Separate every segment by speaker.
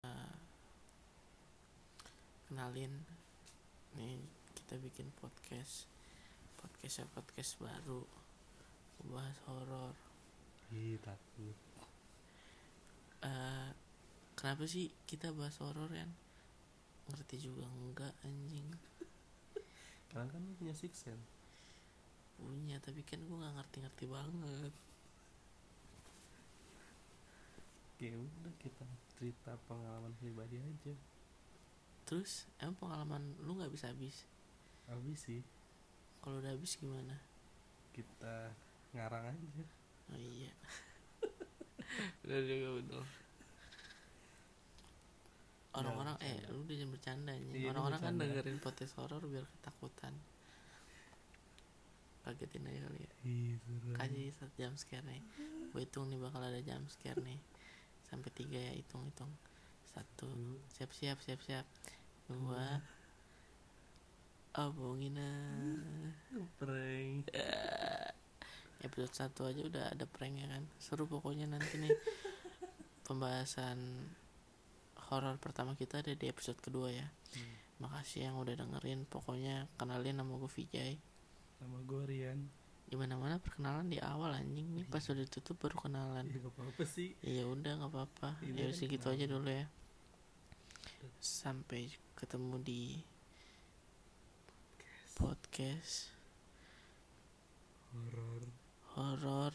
Speaker 1: Eh, kenalin nih kita bikin podcast podcastnya podcast baru membahas horor
Speaker 2: Ih, takut.
Speaker 1: Eh, kenapa sih kita bahas horor kan ngerti juga enggak anjing
Speaker 2: Karena kan lu punya six sense.
Speaker 1: punya tapi kan gue nggak ngerti-ngerti banget
Speaker 2: Ya udah kita cerita pengalaman pribadi aja.
Speaker 1: terus emang pengalaman lu nggak bisa habis
Speaker 2: Habis sih
Speaker 1: kalau udah habis gimana
Speaker 2: kita ngarang aja.
Speaker 1: oh iya udah juga betul orang-orang
Speaker 2: Jangan
Speaker 1: eh
Speaker 2: Ya, bercanda.
Speaker 1: lu udah jangan bercanda anjing.
Speaker 2: Iya, ini
Speaker 1: orang-orang kan
Speaker 2: bercanda.
Speaker 1: dengerin podcast horor biar ketakutan kagetin aja kali ya
Speaker 2: Ih, seru.
Speaker 1: kasih satu jam scare nih gue hitung nih bakal ada jam scare nih sampai tiga ya hitung hitung satu
Speaker 2: Dua.
Speaker 1: siap siap siap siap dua abongin ah.
Speaker 2: Prank.
Speaker 1: episode satu aja udah ada pranknya kan seru pokoknya nanti nih pembahasan horor pertama kita ada di episode kedua ya
Speaker 2: Hmm.
Speaker 1: makasih yang udah dengerin pokoknya kenalin nama gue Vijay
Speaker 2: Nama gue Rian.
Speaker 1: dimana mana perkenalan di awal anjing nih pas udah tutup baru kenalan
Speaker 2: Ya gak apa-apa sih.
Speaker 1: Ya udah nggak apa-apa.
Speaker 2: Ini
Speaker 1: Ya
Speaker 2: kan
Speaker 1: segitu
Speaker 2: kenal.
Speaker 1: aja dulu ya. Sampai ketemu di podcast
Speaker 2: Horor.
Speaker 1: horor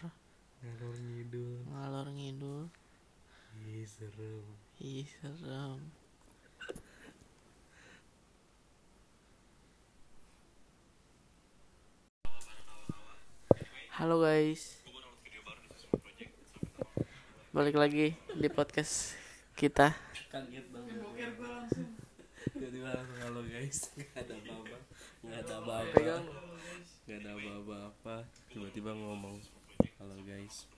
Speaker 2: Ngalor ngidul.
Speaker 1: ngalor ngidul.
Speaker 2: Ih, serem.
Speaker 1: Ih serem. Halo guys. Balik lagi di podcast kita.
Speaker 2: Kaget banget. Boker gue langsung. Tiba-tiba langsung halo guys. Gak ada apa-apa. Gak ada apa-apa. Gak ada apa-apa. Tiba-tiba ngomong. Halo guys.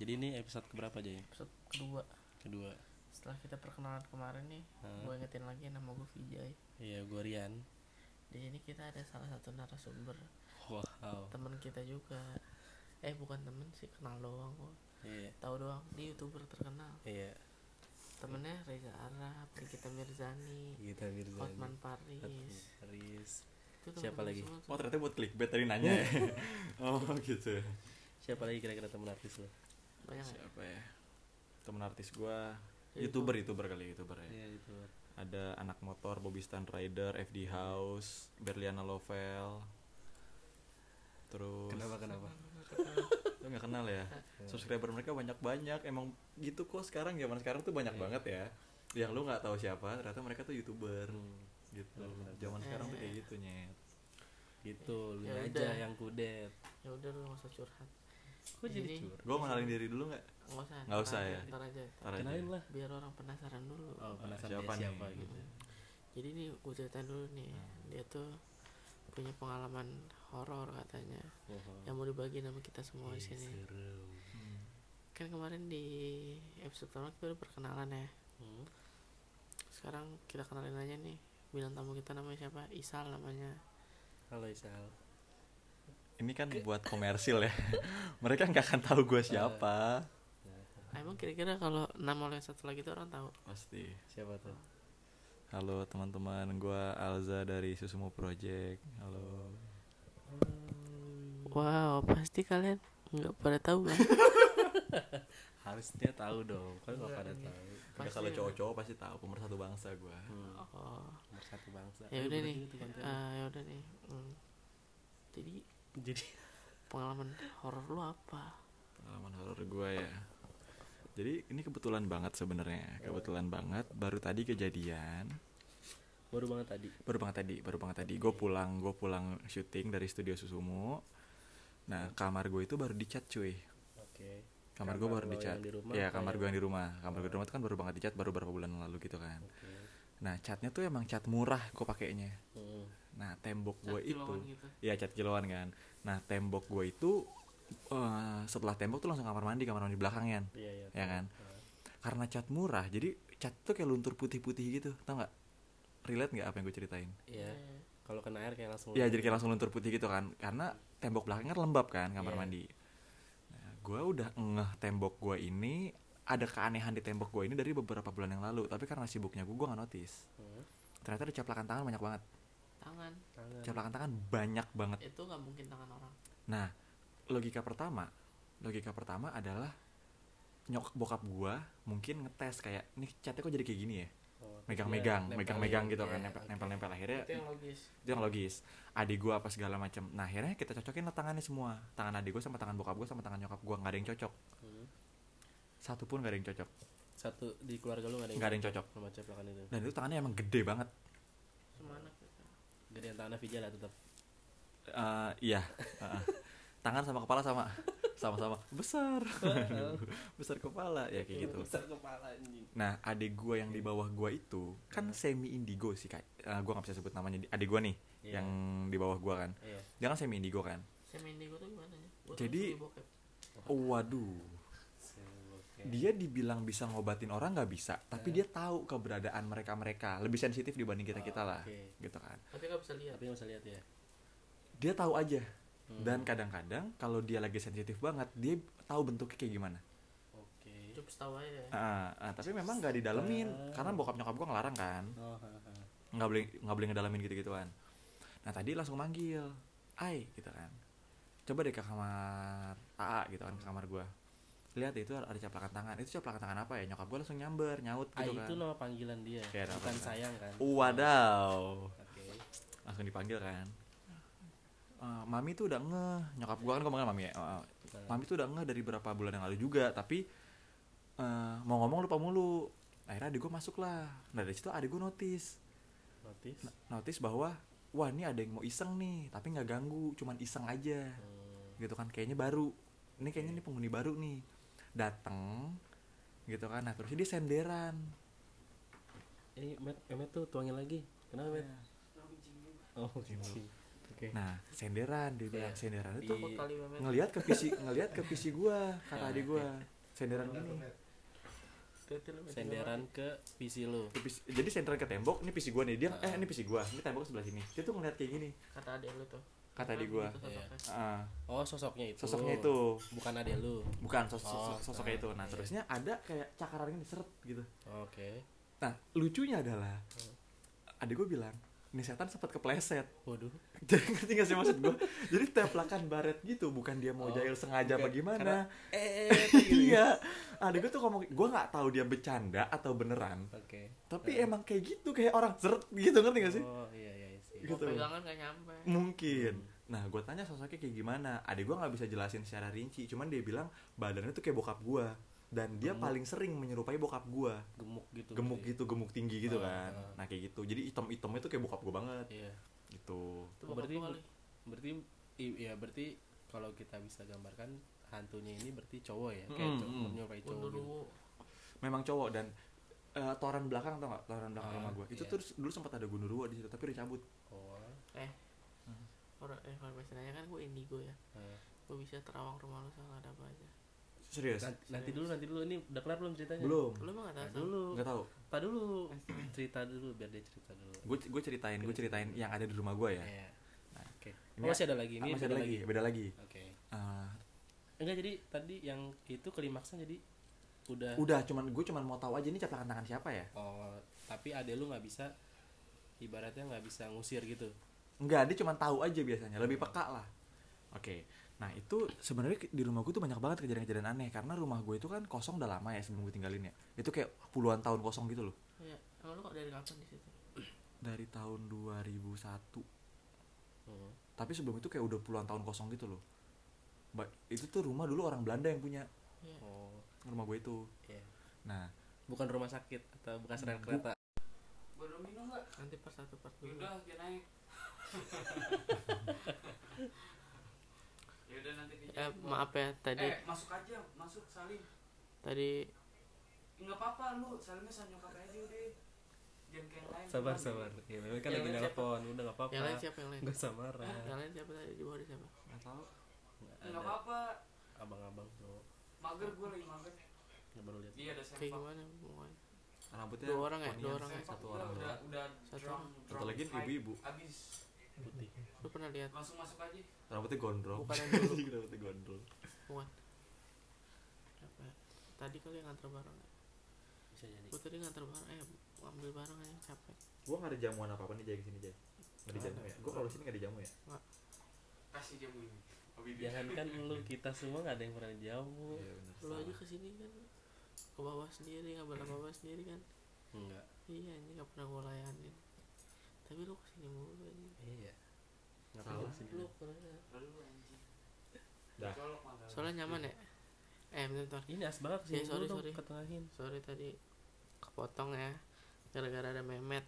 Speaker 2: Jadi ini episode keberapa aja ya?
Speaker 1: Episode kedua.
Speaker 2: Kedua.
Speaker 1: setelah kita perkenalan kemarin nih
Speaker 2: Hmm.
Speaker 1: gue ingetin lagi nama gue Vijay
Speaker 2: Iya, gue Rian.
Speaker 1: di sini kita ada salah satu narasumber
Speaker 2: Wow.
Speaker 1: teman kita juga eh bukan temen sih kenal doang gue
Speaker 2: Iya.
Speaker 1: tahu doang dia youtuber terkenal
Speaker 2: Iya.
Speaker 1: temennya Reza Arab Nikita Mirzani
Speaker 2: Kita Mirzani.
Speaker 1: Hotman Paris
Speaker 2: Paris.
Speaker 1: itu temen-temen
Speaker 2: Iya, Siapa lagi?
Speaker 1: semua
Speaker 3: Oh
Speaker 1: tuh.
Speaker 3: ternyata buat clickbait tadi nanya ya Oh gitu
Speaker 2: Siapa lagi kira-kira teman artis lo?
Speaker 1: banyak ya?
Speaker 3: Siapa ya Temen artis gua
Speaker 1: Jadi
Speaker 3: Youtuber, Youtuber kali Youtuber ya
Speaker 2: Iya, itu.
Speaker 3: Ada anak motor, Bobby Stan Rider, FD House Berliana Lovell Terus
Speaker 2: Kenapa kenapa?
Speaker 3: Lu gak kenal ya Subscriber mereka banyak-banyak Emang gitu kok sekarang zaman sekarang tuh banyak
Speaker 2: Iya.
Speaker 3: banget ya Yang lu gak tahu siapa Ternyata mereka tuh Youtuber
Speaker 2: Hmm.
Speaker 3: gitu
Speaker 2: Benar-benar.
Speaker 3: Zaman sekarang tuh kayak
Speaker 1: Iya.
Speaker 3: gitu nyet
Speaker 2: Gitu, lu
Speaker 1: Ya udah.
Speaker 2: aja yang kudet.
Speaker 1: ya udah lu nggak usah curhat
Speaker 2: Kok jadi
Speaker 1: Ini-
Speaker 2: curhat?
Speaker 3: Gue kenalin diri dulu gak?
Speaker 1: nggak usah
Speaker 3: Nggak
Speaker 1: ntar
Speaker 3: usah
Speaker 1: aja,
Speaker 3: ya?
Speaker 1: ntar aja
Speaker 3: Ntar aja.
Speaker 2: Kenalin lah.
Speaker 1: biar orang penasaran dulu
Speaker 2: Oh,
Speaker 3: Ah,
Speaker 2: penasaran
Speaker 3: siapa
Speaker 2: siapa,
Speaker 3: nih?
Speaker 2: siapa gitu.
Speaker 1: jadi ini gue ceritain dulu nih
Speaker 2: Hmm.
Speaker 1: dia tuh punya pengalaman horor katanya yang mau dibagi nama kita semua di sini
Speaker 2: Iya, Seru.
Speaker 3: Hmm.
Speaker 1: kan kemarin di episode pertama kita udah perkenalan ya
Speaker 2: Hmm.
Speaker 1: sekarang kita kenalin aja nih bilang tamu kita namanya siapa Isal namanya
Speaker 2: Halo Isal.
Speaker 3: Ini kan buat komersil ya. Mereka nggak akan tahu
Speaker 2: Eh,
Speaker 3: gue siapa.
Speaker 1: Ah, emang kira-kira kalau nama lo yang satu lagi tuh orang tahu
Speaker 3: Pasti.
Speaker 2: Siapa tuh?
Speaker 3: Halo teman-teman, gue Alza dari Susumu Project. Halo.
Speaker 1: wow pasti kalian nggak pada tahu kan
Speaker 2: Harusnya tahu dong. Kan nggak pada
Speaker 1: Enggak,
Speaker 2: tahu.
Speaker 1: Pasti
Speaker 3: kalau
Speaker 1: ada.
Speaker 3: cowok-cowok pasti tahu pemersatu bangsa gue.
Speaker 2: Hmm.
Speaker 1: oh
Speaker 2: Nomor satu bangsa.
Speaker 1: ya
Speaker 2: Eh,
Speaker 1: udah
Speaker 2: bener
Speaker 1: nih
Speaker 2: juga tuh konten.
Speaker 1: Ah, ya udah nih Hmm. jadi
Speaker 2: Jadi
Speaker 1: pengalaman horor lo apa
Speaker 3: Pengalaman horor gue ya. Jadi ini kebetulan banget sebenarnya, kebetulan banget. Baru tadi kejadian.
Speaker 2: baru banget tadi.
Speaker 3: Baru banget tadi, baru banget tadi. Gue pulang, gue pulang syuting dari studio Susumu. Nah kamar gue itu baru dicat cuy.
Speaker 2: Oke.
Speaker 3: Kamar, gue
Speaker 2: Kamar
Speaker 3: baru
Speaker 2: lo
Speaker 3: dicat.
Speaker 2: yang di rumah
Speaker 3: Iya
Speaker 2: apa
Speaker 3: kamar
Speaker 2: yang-
Speaker 3: gue yang di rumah. Kamar gue di rumah itu kan baru banget dicat, baru beberapa bulan lalu gitu kan.
Speaker 2: Oke.
Speaker 3: Nah, catnya tuh emang cat murah gue pakainya.
Speaker 2: Hmm.
Speaker 3: Nah, tembok gue
Speaker 1: Satu
Speaker 3: itu,
Speaker 1: lawan gitu.
Speaker 3: ya cat kiloan kan. Nah, tembok gue itu eh, setelah tembok tuh langsung kamar mandi, kamar mandi belakangnya.
Speaker 2: Iya, iya.
Speaker 3: Ya kan? Karena cat murah, jadi cat tuh kayak luntur putih-putih gitu, tau nggak? Relate nggak apa yang gue ceritain?
Speaker 2: Iya.
Speaker 1: Eh,
Speaker 2: Kalau kena air kayak langsung. Hmm.
Speaker 3: Ya, jadi kayak langsung luntur putih gitu kan. Karena tembok belakangnya kan lembab kan, kamar
Speaker 2: Iya.
Speaker 3: mandi. Nah, gue udah ngeh tembok gue ini ada keanehan di tembok gue ini dari beberapa bulan yang lalu, tapi karena sibuknya gue, gue nggak notice.
Speaker 2: Hmm.
Speaker 3: ternyata ada caplakan tangan banyak banget
Speaker 1: tangan
Speaker 2: Tangan.
Speaker 3: caplakan tangan banyak banget
Speaker 1: itu nggak mungkin tangan orang
Speaker 3: nah logika pertama logika pertama adalah nyok bokap gua mungkin ngetes kayak nih catnya kok jadi kayak gini ya
Speaker 2: Oh,
Speaker 3: megang-megang
Speaker 2: dia
Speaker 3: megang-megang
Speaker 2: nempelin.
Speaker 3: gitu kan
Speaker 1: Iya,
Speaker 3: nempel-
Speaker 2: oke.
Speaker 3: nempel-nempel akhirnya
Speaker 1: itu yang logis
Speaker 3: itu yang logis adik gua apa segala macam nah akhirnya kita cocokin lah tangannya semua tangan adik gua sama tangan bokap gua sama tangan nyokap gua nggak ada yang cocok
Speaker 2: Hmm.
Speaker 3: satu pun nggak ada yang cocok
Speaker 2: Satu di keluarga lu nggak ada
Speaker 3: nggak ada yang cocok
Speaker 2: sama ceplakan itu.
Speaker 3: dan itu tangannya emang gede banget
Speaker 1: semanak gitu.
Speaker 2: Gedean tangannya Vija lah tetap.
Speaker 3: Eh, iya Heeh. tangan sama kepala sama sama-sama besar besar kepala ya kayak gitu
Speaker 2: Besar kepala anjing.
Speaker 3: nah adik gua yang di bawah gua itu kan semi indigo sih kak Eh, gua nggak bisa sebut namanya adik gua nih
Speaker 2: Iya.
Speaker 3: yang di bawah gua kan
Speaker 2: Iya.
Speaker 3: jangan semi indigo kan
Speaker 1: Sam Indigo tuh gimana ya? Gua tuh
Speaker 3: Jadi-
Speaker 1: suka bokep.
Speaker 3: oh, waduh
Speaker 2: Oke.
Speaker 3: dia dibilang bisa ngobatin orang nggak bisa tapi
Speaker 2: Ya.
Speaker 3: dia tahu keberadaan mereka mereka lebih sensitif dibanding kita kita lah
Speaker 2: Oke.
Speaker 3: gitu kan
Speaker 1: Tapi nggak bisa lihat.
Speaker 2: Tapi nggak bisa lihat ya.
Speaker 3: dia tahu aja
Speaker 2: Hmm.
Speaker 3: dan kadang-kadang kalau dia lagi sensitif banget dia tahu bentuknya kayak gimana
Speaker 2: Oke.
Speaker 1: Cukup setahu aja. ya.
Speaker 3: Ah, ah, tapi memang nggak didalemin karena bokap nyokap gua ngelarang kan
Speaker 2: Oh, ha, ha.
Speaker 3: nggak boleh nggak boleh ngedalamin gitu gituan nah tadi langsung manggil ai gitu kan coba deh ke kamar AA gitu kan ke kamar gua lihat itu ada caplakan tangan itu caplakan tangan apa ya nyokap gua langsung nyamber nyaut
Speaker 2: Ah,
Speaker 3: gitu
Speaker 2: itu
Speaker 3: kan
Speaker 2: nama panggilan dia.
Speaker 3: Iya, nama
Speaker 2: Bukan
Speaker 3: panggilan.
Speaker 2: sayang kan.
Speaker 3: wadaw
Speaker 2: Oke.
Speaker 3: langsung dipanggil kan Eh, mami tuh udah ngeh nyokap gua kan ngomongnya mami ya Eh, eh,
Speaker 2: nah,
Speaker 3: mami tuh udah ngeh dari berapa bulan yang lalu juga tapi eh, mau ngomong lupa mulu akhirnya adik gue masuk lah nah dari situ adik gue notice
Speaker 2: Notice.
Speaker 3: N- notice bahwa wah ini ada yang mau iseng nih tapi nggak ganggu cuman iseng aja
Speaker 2: Hmm.
Speaker 3: gitu kan kayaknya baru ini kayaknya ini penghuni baru nih dateng gitu kan nah terus dia senderan
Speaker 2: Eh, Met, eh, Met tuh tuangin lagi. Kenapa, Met? Oh, kucing. Oke.
Speaker 3: nah senderan dia bilang senderan itu
Speaker 1: Takut kali memet.
Speaker 3: ngelihat ke visi ngelihat ke visi gua kata adik gua senderan gini
Speaker 1: Titil memet.
Speaker 2: Senderan ke PC lu.
Speaker 3: Ke visi- jadi senderan ke tembok ini visi gua nih dia eh ini
Speaker 2: Ah.
Speaker 3: visi gua ini tembok sebelah sini dia tuh ngelihat kayak gini
Speaker 1: Kata adik lu tuh.
Speaker 3: kata adik gua
Speaker 1: Gitu
Speaker 2: Iya.
Speaker 1: sosoknya.
Speaker 3: Ah,
Speaker 2: Oh, sosoknya itu.
Speaker 3: sosoknya itu
Speaker 2: Bukan ada lu.
Speaker 3: bukan sos- sos-
Speaker 2: Oh,
Speaker 3: sosoknya
Speaker 2: nah,
Speaker 3: itu nah
Speaker 2: iya.
Speaker 3: terusnya ada kayak cakaran gini seret gitu
Speaker 2: Oke.
Speaker 3: nah lucunya adalah
Speaker 2: Ah.
Speaker 3: adik gua bilang ini setan sempat kepleset
Speaker 2: Waduh.
Speaker 3: jadi ngerti gak sih maksud gua jadi teplakan baret gitu bukan dia mau
Speaker 2: Oh,
Speaker 3: jahil sengaja apa
Speaker 2: bukan.
Speaker 3: gimana
Speaker 2: Karena- Eh.
Speaker 3: iya adik gua tuh ngomong gua nggak tahu dia bercanda atau beneran
Speaker 2: Oke.
Speaker 3: Tapi emang kayak gitu, kayak orang seret gitu ngerti gak sih?
Speaker 2: Oh, iya iya iya, sih.
Speaker 1: Mau
Speaker 3: Gitu.
Speaker 1: pegangan gak nyampe.
Speaker 3: Mungkin. Nah, gue tanya sosoknya kayak gimana. Adik gue nggak bisa jelasin secara rinci, cuman dia bilang badannya tuh kayak bokap gue. Dan dia
Speaker 2: Gemuk.
Speaker 3: paling sering menyerupai bokap gue.
Speaker 2: Gemuk gitu.
Speaker 3: Gemuk
Speaker 2: berarti.
Speaker 3: gitu, gemuk tinggi gitu
Speaker 2: Ah,
Speaker 3: kan.
Speaker 2: ah.
Speaker 3: Nah, kayak gitu. Jadi item-itemnya tuh kayak bokap gue banget
Speaker 2: Iya.
Speaker 3: gitu.
Speaker 1: Itu bokap
Speaker 2: Berarti-
Speaker 1: gua kali.
Speaker 2: Berarti i- ya berarti kalau kita bisa gambarkan hantunya ini berarti cowok ya, kayak
Speaker 3: Mm,
Speaker 2: cowok
Speaker 3: mm.
Speaker 2: menyerupai cowok.
Speaker 1: Undur
Speaker 2: gitu.
Speaker 1: dulu.
Speaker 3: Memang cowok dan eh, toran belakang tau gak? Toran belakang
Speaker 2: Ah,
Speaker 3: rumah gue. Itu
Speaker 2: iya.
Speaker 3: terus dulu sempat ada gundurwo di situ, tapi udah cabut.
Speaker 2: Oh.
Speaker 1: Eh.
Speaker 4: Hmm.
Speaker 1: Orang eh kalau biasanya kan gua indigo ya.
Speaker 2: eh.
Speaker 1: Gua bisa terawang rumah lu salah ada apa aja.
Speaker 3: Serius?
Speaker 2: Nanti, nanti dulu nanti dulu ini udah kelar belum ceritanya?
Speaker 3: Belum.
Speaker 4: Hmm.
Speaker 1: Lu emang
Speaker 2: Nah,
Speaker 1: gak tahu.
Speaker 2: dulu.
Speaker 3: Nggak tahu.
Speaker 2: Pak dulu cerita dulu biar dia cerita dulu.
Speaker 3: Gue gue ceritain, gue ceritain yang ada di rumah gue ya.
Speaker 2: Iya. Oke.
Speaker 3: Ini-
Speaker 2: Oh, masih ada lagi
Speaker 3: Ah,
Speaker 2: ini
Speaker 3: masih ada
Speaker 2: beda
Speaker 3: lagi, beda lagi.
Speaker 2: Oke.
Speaker 3: Ah,
Speaker 2: Enggak jadi tadi yang itu klimaksnya jadi udah
Speaker 3: udah cuman gue cuman mau tahu aja ini caplakan tangan siapa ya
Speaker 2: Oh, tapi ade lu nggak bisa ibaratnya nggak bisa ngusir gitu.
Speaker 3: enggak dia cuman tahu aja biasanya lebih peka lah oke nah itu sebenarnya di rumah gue tuh banyak banget kejadian-kejadian aneh karena rumah gue itu kan kosong udah lama ya sebelum gue tinggalin ya itu kayak puluhan tahun kosong gitu loh
Speaker 1: Iya. Emang lu kok dari kapan di situ?
Speaker 3: dari tahun 2001
Speaker 2: Hmm.
Speaker 3: tapi sebelum itu kayak udah puluhan tahun kosong gitu loh Ba- itu tuh rumah dulu orang Belanda yang punya
Speaker 1: Iya.
Speaker 2: Oh,
Speaker 3: rumah gue itu
Speaker 2: iya.
Speaker 3: nah
Speaker 2: Bukan rumah sakit atau bekas rel kereta.
Speaker 4: Belum minum nggak?
Speaker 1: Nanti part satu part dua.
Speaker 4: Yaudah, dia naik. Yaudah nanti dijemput.
Speaker 1: Eh maaf ya tadi
Speaker 4: Eh, masuk aja, masuk salim.
Speaker 1: tadi
Speaker 4: Enggak apa-apa lu, salimnya sama nyokap aja udah. Jangan kayak yang lain.
Speaker 2: Sabar
Speaker 4: Cuman
Speaker 2: sabar. Ya, memang
Speaker 1: Yang
Speaker 2: kan lagi
Speaker 1: lain siapa?
Speaker 2: nelpon, udah nggak apa-apa.
Speaker 1: yang lain siapa yang lain?
Speaker 2: Nggak usah marah.
Speaker 1: Yang lain siapa tadi di bawah ada siapa?
Speaker 3: nggak tahu
Speaker 2: Nggak ada.
Speaker 4: Enggak apa-apa.
Speaker 2: Abang-abang tuh
Speaker 4: Mager gue lagi mager.
Speaker 2: nggak baru lihat.
Speaker 4: Iya ada
Speaker 1: Kayak
Speaker 4: sempak.
Speaker 1: gimana pokoknya?
Speaker 3: rambutnya
Speaker 1: Dua orang ya? Dua
Speaker 3: kuningan,
Speaker 1: orang ya?
Speaker 4: Sempak
Speaker 3: satu
Speaker 4: udah,
Speaker 3: orang
Speaker 4: udah,
Speaker 3: doang.
Speaker 4: udah
Speaker 1: Satu
Speaker 4: drunk,
Speaker 3: satu
Speaker 4: drunk
Speaker 3: lagi
Speaker 4: fight.
Speaker 3: ibu-ibu
Speaker 4: Abis
Speaker 2: Putih.
Speaker 1: Lu pernah lihat?
Speaker 4: langsung masuk aja.
Speaker 3: rambutnya gondrong
Speaker 1: Bukan yang dulu.
Speaker 3: rambutnya gondrong
Speaker 1: Bukan. Apa? Tadi kali yang nganter bareng.
Speaker 2: Bisa jadi.
Speaker 1: Gue tadi nganter bareng. Eh, ambil barang aja capek
Speaker 3: Gua nggak ada jamuan apa apa nih jadi kesini jadi. Nggak ada
Speaker 2: Nggak
Speaker 3: jamu
Speaker 2: ada.
Speaker 3: ya. Gua kalau sini nggak ada jamu ya.
Speaker 4: kasih Iya. jamu ini Habis dia.
Speaker 2: Jangankan kan lu kita semua nggak ada yang pernah jamu.
Speaker 3: Iya benar.
Speaker 1: lu aja kesini kan ke bawah sendiri nggak apa bawah sendiri kan
Speaker 2: Enggak.
Speaker 1: iya ini nggak pernah gua layanin tapi lu kesini mulu aja
Speaker 2: Iya. Nggak
Speaker 3: Salah.
Speaker 2: pernah sih.
Speaker 1: lu pernah
Speaker 2: ya.
Speaker 4: Lalu anjing.
Speaker 3: Dah.
Speaker 4: Colok mata lu.
Speaker 1: soalnya nyaman ya eh bentar
Speaker 2: Ini as banget sih.
Speaker 1: Iya, sorry,
Speaker 2: dong,
Speaker 1: sorry.
Speaker 2: Ketengahin.
Speaker 1: sorry tadi kepotong ya gara-gara ada Mehmet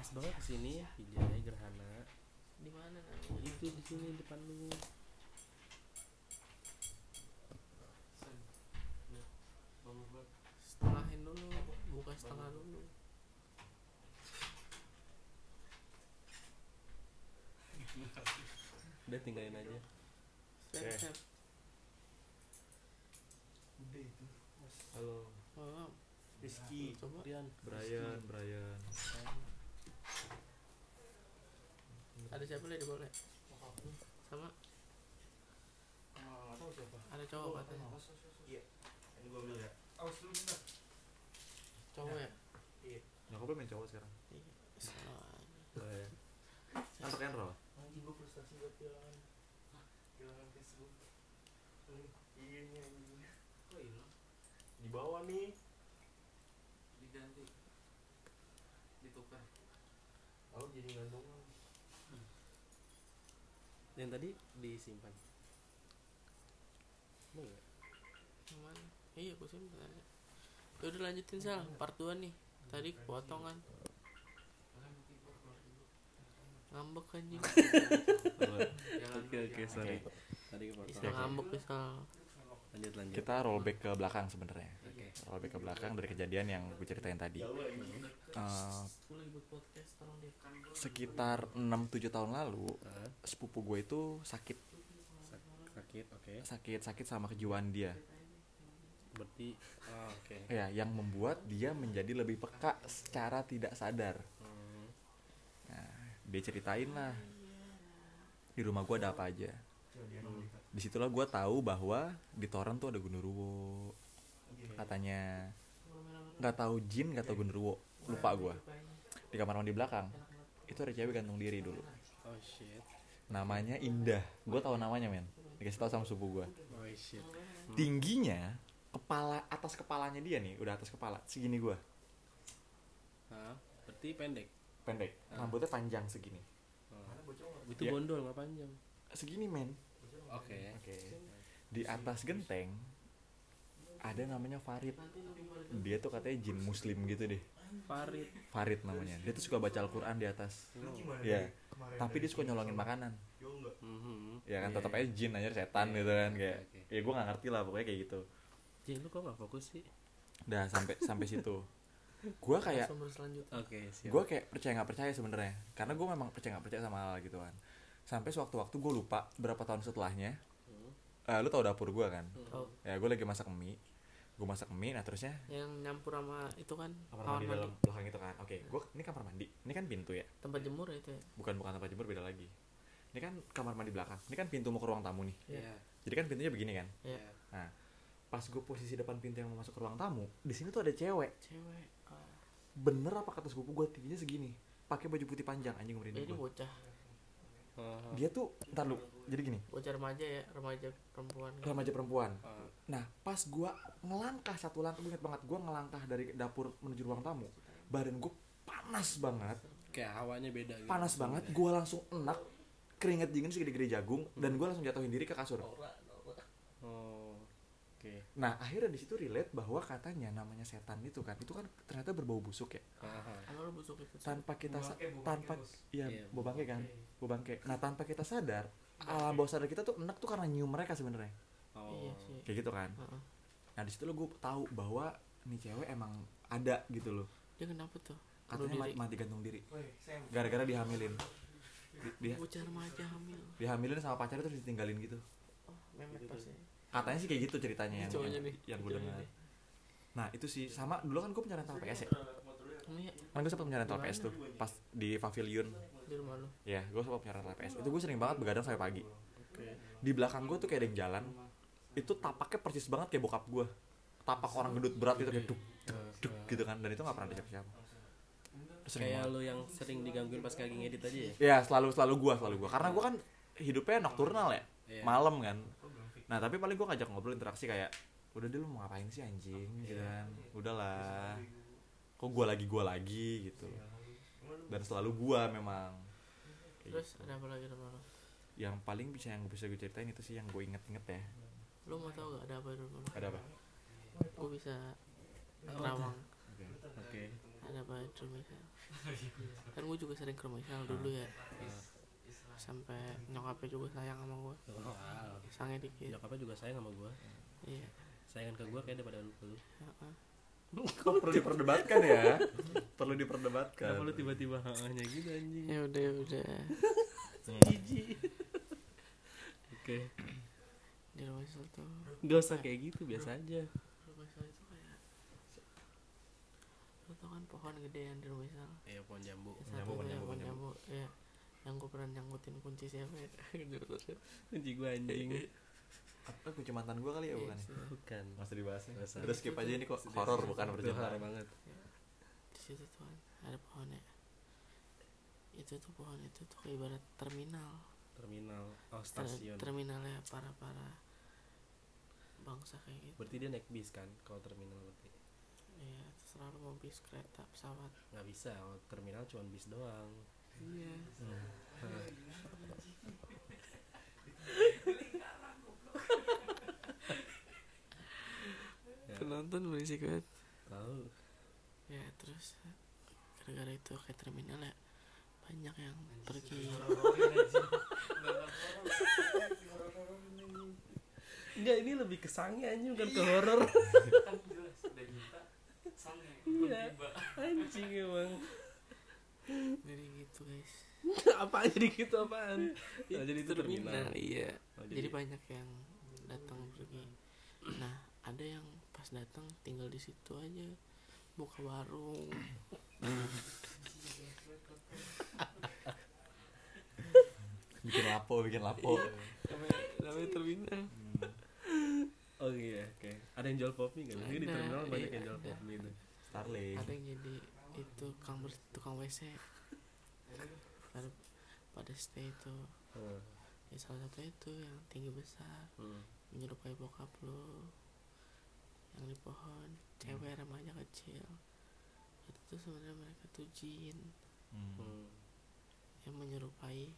Speaker 2: As banget kesini. Hijau gerhana.
Speaker 1: di mana
Speaker 2: Itu di sini depan lu.
Speaker 4: Sen. Lihat. Bangun banget.
Speaker 1: setengahin dulu buka setengah dulu
Speaker 2: Udah tinggalin aja.
Speaker 1: Step,
Speaker 3: Oke.
Speaker 1: step.
Speaker 4: Udah itu. Mas.
Speaker 3: Halo.
Speaker 1: Oh,
Speaker 2: Rizky,
Speaker 1: Coba.
Speaker 2: Rian,
Speaker 3: Brian, Brian.
Speaker 1: ada siapa lagi boleh
Speaker 4: Bokap lu.
Speaker 1: sama
Speaker 4: Sama nggak tahu siapa.
Speaker 1: ada cowok katanya
Speaker 4: Awas, awas, awas.
Speaker 5: Ini gua beli ya.
Speaker 4: Awas dulu bentar.
Speaker 1: cowok ya
Speaker 3: Nyokap lu main cowok sekarang.
Speaker 1: Iya. Salah aja.
Speaker 3: Brian. Antok and roll.
Speaker 4: Anjing gua frustasi buat kehilangan. Kehilangan Facebook. Ini ini anjing. Kok
Speaker 5: iya
Speaker 4: hilang?
Speaker 5: Di bawah nih.
Speaker 4: Diganti. Ditukar.
Speaker 5: Aku jadi gantungan.
Speaker 2: Hmm. yang tadi disimpan. Mau nggak?
Speaker 1: Yang mana? iya gue simpen aja Ya udah lanjutin sal part 2 nih tadi potongan
Speaker 4: Makanya nanti gua keluar dulu.
Speaker 1: ngambek anjing
Speaker 4: Jalan
Speaker 2: Oke
Speaker 4: dulu,
Speaker 2: oke
Speaker 4: jalan.
Speaker 2: sorry. Tadi
Speaker 3: Iya.
Speaker 1: bisa
Speaker 2: kepotong.
Speaker 1: ngambek misal
Speaker 2: Lanjut lanjut.
Speaker 3: Kita roll back ke belakang sebenarnya.
Speaker 2: Oke.
Speaker 3: Roll back ke belakang dari kejadian yang gue ceritain tadi.
Speaker 5: Jauh lagi.
Speaker 3: Eh,
Speaker 1: gue lagi buat podcast tolong dia
Speaker 4: Kan gua
Speaker 3: sekitar 6-7 tahun lalu
Speaker 2: Ah,
Speaker 3: sepupu gue itu sakit
Speaker 2: sakit oke.
Speaker 3: sakit sakit sama kejiwaan dia
Speaker 2: Berarti ah, oke.
Speaker 3: ya yang membuat dia menjadi lebih peka secara tidak sadar
Speaker 2: Hmm,
Speaker 3: dia ceritain lah di rumah gue ada apa aja
Speaker 2: Hmm.
Speaker 3: disitulah gue tahu bahwa di Toren tuh ada Gunduruwo katanya nggak tahu jin nggak tahu Gunduruwo lupa gue di kamar mandi belakang itu ada cewek gantung diri dulu
Speaker 2: Oh shit.
Speaker 3: namanya Indah gue tahu namanya men dikasih tahu sama sepupu gue
Speaker 2: Oh shit.
Speaker 3: tingginya kepala atas kepalanya dia nih udah atas kepala segini gua
Speaker 2: Ah, berarti pendek.
Speaker 3: pendek
Speaker 2: Ah.
Speaker 3: rambutnya panjang segini
Speaker 2: Ah,
Speaker 4: Mana bocor nggak?
Speaker 2: Itu
Speaker 3: Ya.
Speaker 2: gondol nggak panjang.
Speaker 3: segini men
Speaker 4: Bocor nggak?
Speaker 2: Oke.
Speaker 3: oke di atas genteng ada namanya Farid dia tuh katanya jin muslim gitu deh
Speaker 2: Farid.
Speaker 3: Farid namanya dia tuh suka baca Al-Quran di atas
Speaker 5: Lu gimana?
Speaker 3: Iya.
Speaker 5: Dik? Kemarin
Speaker 3: tapi
Speaker 5: dari
Speaker 3: dia suka
Speaker 5: sini
Speaker 3: nyolongin
Speaker 5: sama-
Speaker 3: makanan
Speaker 5: Yo enggak.
Speaker 2: Mhm.
Speaker 3: ya kan
Speaker 2: Iya,
Speaker 3: tetap
Speaker 2: iya.
Speaker 3: aja jin aja setan
Speaker 2: Iya,
Speaker 3: gitu kan
Speaker 2: oke,
Speaker 3: kayak
Speaker 2: oke.
Speaker 3: ya gua nggak ngerti lah pokoknya kayak gitu
Speaker 2: Jin lu kok nggak fokus sih?
Speaker 3: udah sampai sampai situ gua kayak
Speaker 1: sumber selanjutnya
Speaker 2: Oke siap.
Speaker 3: gue kayak percaya nggak percaya sebenarnya karena gue memang percaya nggak percaya sama hal gitu kan sampai sewaktu-waktu gue lupa berapa tahun setelahnya
Speaker 2: Hmm.
Speaker 3: eh, lu tau dapur gue kan
Speaker 1: oh
Speaker 3: ya gue lagi masak mie gue masak mie nah terusnya
Speaker 1: yang nyampur sama itu kan
Speaker 3: kamar mandi
Speaker 1: mandi.
Speaker 3: dalam belakang itu kan oke gue ini kamar mandi ini kan pintu ya
Speaker 1: tempat jemur ya itu ya
Speaker 3: bukan bukan tempat jemur beda lagi ini kan kamar mandi belakang ini kan pintu mau ke ruang tamu nih
Speaker 2: Iya.
Speaker 3: jadi kan pintunya begini kan
Speaker 1: Iya.
Speaker 3: nah pas gue posisi depan pintu yang mau masuk ke ruang tamu di sini tuh ada cewek
Speaker 1: cewek Ah.
Speaker 3: bener apa kata sepupu gue tingginya segini pakai baju putih panjang anjing
Speaker 1: Ya,
Speaker 3: merinding
Speaker 1: ini
Speaker 3: gue
Speaker 1: bocah
Speaker 2: Ah,
Speaker 3: dia tuh ntar lu jadi gini
Speaker 1: bocah remaja ya remaja perempuan kan?
Speaker 3: remaja perempuan
Speaker 2: ah.
Speaker 3: Nah, pas gua ngelangkah satu langkah, gue inget banget gua ngelangkah dari dapur menuju ruang tamu, badan gue panas banget,
Speaker 2: Kayak hawanya beda. Gitu.
Speaker 3: panas banget, gua langsung enak, keringet dingin segede-gede jagung, dan gua langsung jatuhin diri ke kasur.
Speaker 2: Oh. Oke.
Speaker 3: Nah, akhirnya di situ relate bahwa katanya namanya setan itu kan, itu kan ternyata berbau busuk ya.
Speaker 2: Ah,
Speaker 1: Emang lu busuk itu Sal?
Speaker 3: Tanpa kita sa-
Speaker 4: Bokeh, bokeh,
Speaker 3: tanpa
Speaker 4: bos.
Speaker 3: iya,
Speaker 2: Iya,
Speaker 3: bau bangke kan, bau bangke. Nah, tanpa kita sadar, alam bawah sadar kita tuh enak tuh karena nyium mereka sebenarnya.
Speaker 2: Oh.
Speaker 1: iya sih
Speaker 3: Kayak gitu kan.
Speaker 1: Heeh.
Speaker 3: Nah, di situ lo gue tahu bahwa nih cewek emang ada gitu loh.
Speaker 1: dia kenapa tuh Bunuh
Speaker 3: katanya mati,
Speaker 1: diri.
Speaker 3: mati gantung diri
Speaker 4: Woi, Sam.
Speaker 3: gara-gara dihamilin Di- dia
Speaker 1: bocah remaja hamil
Speaker 3: dihamilin sama pacarnya terus ditinggalin gitu
Speaker 1: oh memek pasti
Speaker 3: katanya sih kayak gitu ceritanya yang
Speaker 1: Cowoknya
Speaker 3: yang,
Speaker 1: nih,
Speaker 3: yang gue
Speaker 1: cowoknya
Speaker 3: dengar
Speaker 1: nih.
Speaker 3: nah itu sih sama dulu kan gue pencarian tahu PS ya
Speaker 4: Motor lu ya?
Speaker 1: Iya,
Speaker 3: Kan gue sempat punya rental
Speaker 1: Gimana?
Speaker 3: PS tuh pas di pavilion.
Speaker 1: di rumah lu.
Speaker 3: Ya, gue sempat punya rental PS. Itu gue sering banget begadang sampai pagi.
Speaker 2: Oke.
Speaker 3: Di belakang gue tuh kayak ada yang jalan. Itu tapaknya persis banget kayak bokap gue. Tapak orang gendut berat gitu kayak duk duk gitu kan dan itu nggak pernah ada siapa-siapa. Sering
Speaker 2: Kayak
Speaker 3: banget.
Speaker 2: lo yang sering digangguin pas kagak ngedit aja ya?
Speaker 3: Ya, selalu selalu gue, selalu gue. Karena gue kan hidupnya nokturnal ya.
Speaker 2: Iya.
Speaker 3: malam kan nah tapi paling gue ngajak ngobrol interaksi kayak udah deh lu mau ngapain sih anjing
Speaker 1: Iya.
Speaker 3: gitu kan udahlah kok gue lagi gue lagi gitu
Speaker 1: Iya.
Speaker 3: dan selalu gue memang Kayak
Speaker 1: Terus
Speaker 3: gitu.
Speaker 1: ada apa lagi di rumah lu?
Speaker 3: yang paling bisa yang bisa gue ceritain itu sih yang gue inget-inget ya
Speaker 1: Lu mau tau gak ada apa di rumah lu?
Speaker 3: ada Oh, apa
Speaker 1: Gue bisa rawang.
Speaker 2: Oh, Oke.
Speaker 1: Ada apa di rumah Isal? Kan gue juga sering ke rumah
Speaker 3: Ah.
Speaker 1: Isal dulu ya. Sampai nyokapnya juga sayang sama gue.
Speaker 2: Wow.
Speaker 1: Sangnya
Speaker 3: Iya.
Speaker 1: dikit.
Speaker 2: Iya. Nyokapnya juga sayang sama gue.
Speaker 1: Iya.
Speaker 2: Sayangan ke gue kayak daripada lu. ke lu.
Speaker 1: Heeh.
Speaker 3: kok perlu diperdebatkan ya perlu diperdebatkan
Speaker 2: Kenapa lu tiba-tiba hanya gitu anjing?
Speaker 3: Iya.
Speaker 1: Ya udah ya udah.
Speaker 2: Jijik. Oke.
Speaker 1: Di rumah Isal tuh.
Speaker 2: Gak usah kayak gitu, biasa aja.
Speaker 1: Rumah Isal itu kayak lu tau kan pohon gede yang di rumah Isal.
Speaker 2: Iya, pohon jambu.
Speaker 1: Yang satu
Speaker 3: Nyamuk,
Speaker 1: tuh yang
Speaker 3: nyamuk,
Speaker 1: pohon
Speaker 3: nyamuk.
Speaker 1: jambu. Iya. Yang gue pernah nyangkutin kunci siapa ya?
Speaker 3: Iya,
Speaker 2: Kunci gue anjing.
Speaker 3: apa kunci mantan gue kali ya bukan ya?
Speaker 1: Iya,
Speaker 2: Bukan.
Speaker 3: nggak usah dibahas ya
Speaker 2: Nggak usah.
Speaker 3: udah skip aja ini kok horor bukan
Speaker 2: Itu horor
Speaker 3: percintaan
Speaker 2: banget.
Speaker 1: di situ tuh kan ada pohonnya itu tuh pohon itu tuh kayak ibarat terminal
Speaker 2: Terminal. Oh,
Speaker 1: Ter-
Speaker 2: stasiun.
Speaker 1: terminalnya para para bangsa kayak gitu
Speaker 2: Berarti dia naik bis kan kalau terminal berarti.
Speaker 1: iya selalu mau bis kereta pesawat
Speaker 2: Nggak bisa, kalau terminal cuma bis doang.
Speaker 1: iya
Speaker 3: Iya.
Speaker 2: Ya,
Speaker 1: penonton berisik banget
Speaker 2: Tahu.
Speaker 1: ya terus gara-gara itu kayak terminal ya banyak yang pergi
Speaker 2: Enggak, ini lebih ke sange anjing bukan ke horor.
Speaker 4: Kan jelas udah minta sange.
Speaker 2: Iya.
Speaker 4: Tiba.
Speaker 2: Anjing emang.
Speaker 1: jadi gitu guys
Speaker 2: apaan jadi gitu apaan? Oh, jadi itu terminal.
Speaker 1: iya
Speaker 2: Oh,
Speaker 1: jadi banyak yang datang pergi nah ada yang pas datang tinggal di situ aja buka warung
Speaker 3: bikin lapo bikin lapo Hmm,
Speaker 1: namanya, namanya terminal
Speaker 2: Oh iya, oke. Ada yang jual pop mie nggak? Biasanya di
Speaker 1: Ada,
Speaker 2: terminal banyak
Speaker 1: iya,
Speaker 2: yang jual
Speaker 1: ada.
Speaker 2: pop mie itu. Iya.
Speaker 3: Starling
Speaker 1: ada yang jadi itu tukang bers- tukang wc Lalu pada stay itu
Speaker 2: Hmm.
Speaker 1: ya salah satu itu yang tinggi besar
Speaker 2: Hmm.
Speaker 1: menyerupai bokap lo yang di pohon cewek remaja kecil itu tuh sebenarnya mereka tuh jin
Speaker 3: Hmm,
Speaker 2: Hmm.
Speaker 1: yang menyerupai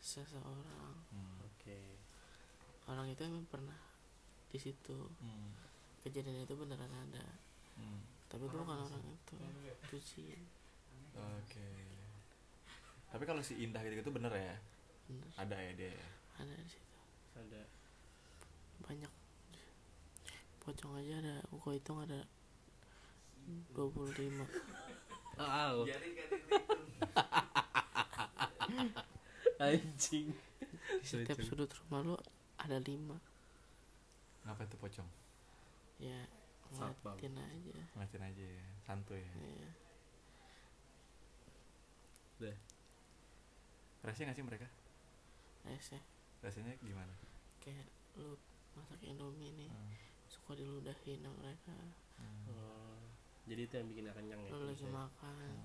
Speaker 1: seseorang
Speaker 3: hmm,
Speaker 2: Oke.
Speaker 1: orang itu emang pernah di situ
Speaker 3: hmm,
Speaker 1: kejadian itu beneran ada
Speaker 3: hmm.
Speaker 1: tapi itu bukan orang itu itu jin
Speaker 3: Oke. Tapi kalau si Indah gitu-gitu bener ya?
Speaker 1: bener
Speaker 3: Ada ya dia ya?
Speaker 1: ada di situ
Speaker 2: Ada.
Speaker 1: banyak pocong aja ada gua hitung ada 25
Speaker 2: Oh,
Speaker 4: Jadi kan
Speaker 3: gitu.
Speaker 4: ini
Speaker 2: anjing.
Speaker 1: di setiap
Speaker 2: Pocong.
Speaker 1: sudut rumah lu ada lima
Speaker 3: Ngapain tuh pocong?
Speaker 1: ya
Speaker 2: Satpam.
Speaker 1: ngeliatin aja
Speaker 3: Ngeliatin aja ya, santuy ya.
Speaker 1: ya.
Speaker 3: Rese gak sih mereka?
Speaker 1: rese
Speaker 3: Rasanya gimana?
Speaker 1: Iya kayak lu masak indomie nih
Speaker 3: Hmm.
Speaker 1: suka diludahin sama mereka
Speaker 3: Hmm.
Speaker 2: Oh, jadi itu yang bikin nggak kenyang ya?
Speaker 1: lu lagi
Speaker 2: biasanya?
Speaker 1: makan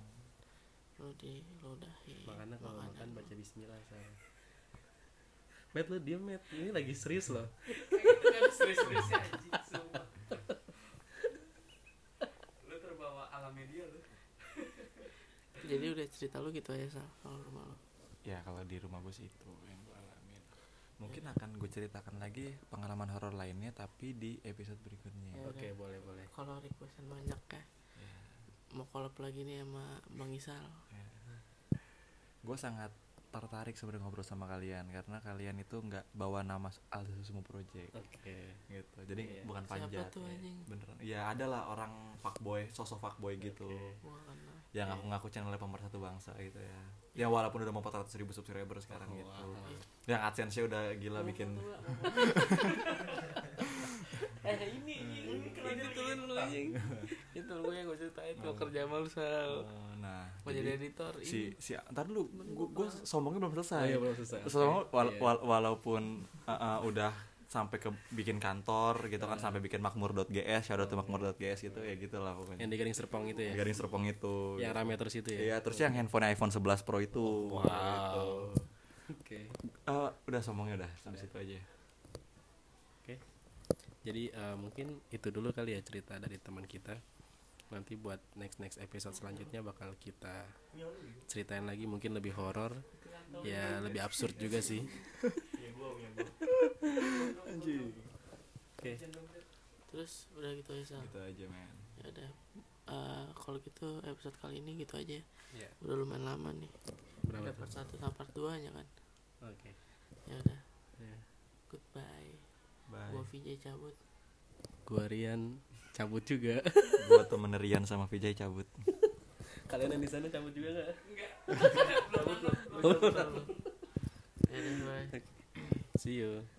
Speaker 1: lu diludahin
Speaker 2: Hmm. Makanya kalau
Speaker 1: makanan
Speaker 2: makan
Speaker 1: lu.
Speaker 2: baca bismillah saya. Met lu diem Met, ini lagi serius loh.
Speaker 4: kan serius-seriusnya anjing sumpah. Lu terbawa alam media lu.
Speaker 1: jadi udah cerita lu gitu aja sal kalau rumah lu
Speaker 3: Ya kalau di rumah gue sih itu yang gue alamin. Mungkin akan gue ceritakan lagi pengalaman horor lainnya tapi di episode berikutnya.
Speaker 1: Ya.
Speaker 2: Oke, boleh boleh.
Speaker 1: kalau requestan banyak ya
Speaker 2: Iya.
Speaker 1: mau collab lagi nih sama Bang Isal
Speaker 3: Gue sangat tertarik sebenarnya ngobrol sama kalian karena kalian itu nggak bawa nama Al Sumo Project.
Speaker 2: Oke.
Speaker 3: gitu jadi
Speaker 2: Iya.
Speaker 3: bukan
Speaker 1: Siapa
Speaker 3: panjat
Speaker 1: tuh
Speaker 3: ya.
Speaker 1: anjing?
Speaker 3: beneran ya ada lah orang fuckboy sosok fuckboy gitu
Speaker 1: gua kenal
Speaker 3: yang aku ngaku channelnya pemersatu bangsa gitu ya yang walaupun udah mau 400 ribu subscriber
Speaker 1: Oh,
Speaker 3: sekarang gitu
Speaker 2: Wah.
Speaker 1: Iya,
Speaker 3: yang adsense udah gila bikin
Speaker 1: eh ini ini
Speaker 2: Iya, Ini temen lu anjing.
Speaker 1: itu temen gue yang gue ceritain gue kerja sama lu sal
Speaker 3: Oh, nah
Speaker 1: mau jadi
Speaker 3: jadi
Speaker 1: editor ini.
Speaker 3: si si ntar dulu gua, gua sombongnya belum selesai
Speaker 2: Oh, iya, belum selesai.
Speaker 3: Terus sombong,
Speaker 2: Oke.
Speaker 3: wala-
Speaker 2: Iya.
Speaker 3: wala- walaupun uh, uh, udah sampai ke bikin kantor gitu
Speaker 2: Nah.
Speaker 3: kan sampai bikin makmur.gs shout out to makmur.gs gitu ya gitu lah
Speaker 2: Iya. Yang
Speaker 3: pokoknya
Speaker 2: di Gading Serpong itu ya.
Speaker 3: garis serpong itu
Speaker 2: Yang rame terus itu ya. Oh,
Speaker 3: Iya, terus yang handphone iPhone 11 Pro itu. Gitu.
Speaker 2: Wow. Oke.
Speaker 3: Eh, udah sombongnya udah, sampai situ aja.
Speaker 2: Oke. Jadi eh, mungkin itu dulu kali ya cerita dari teman kita. Nanti buat next next episode selanjutnya bakal kita ceritain lagi mungkin lebih horor, ya lebih absurd juga sih. Oke.
Speaker 1: terus udah gitu aja sal
Speaker 3: Gitu aja, men.
Speaker 1: ya udah Eh, kalau gitu episode kali ini gitu aja
Speaker 2: Iya.
Speaker 1: udah lumayan lama nih ada
Speaker 2: Berapa tuh?
Speaker 1: part satu sama part dua nya kan
Speaker 2: Oke.
Speaker 1: ya udah
Speaker 2: Iya.
Speaker 1: goodbye
Speaker 3: Bye.
Speaker 1: gue VJ cabut
Speaker 2: Gua Rian cabut juga.
Speaker 3: Gua temen Rian sama Vijay cabut.
Speaker 2: Kalian yang di sana cabut juga nggak?
Speaker 1: ya udah bye
Speaker 2: See you.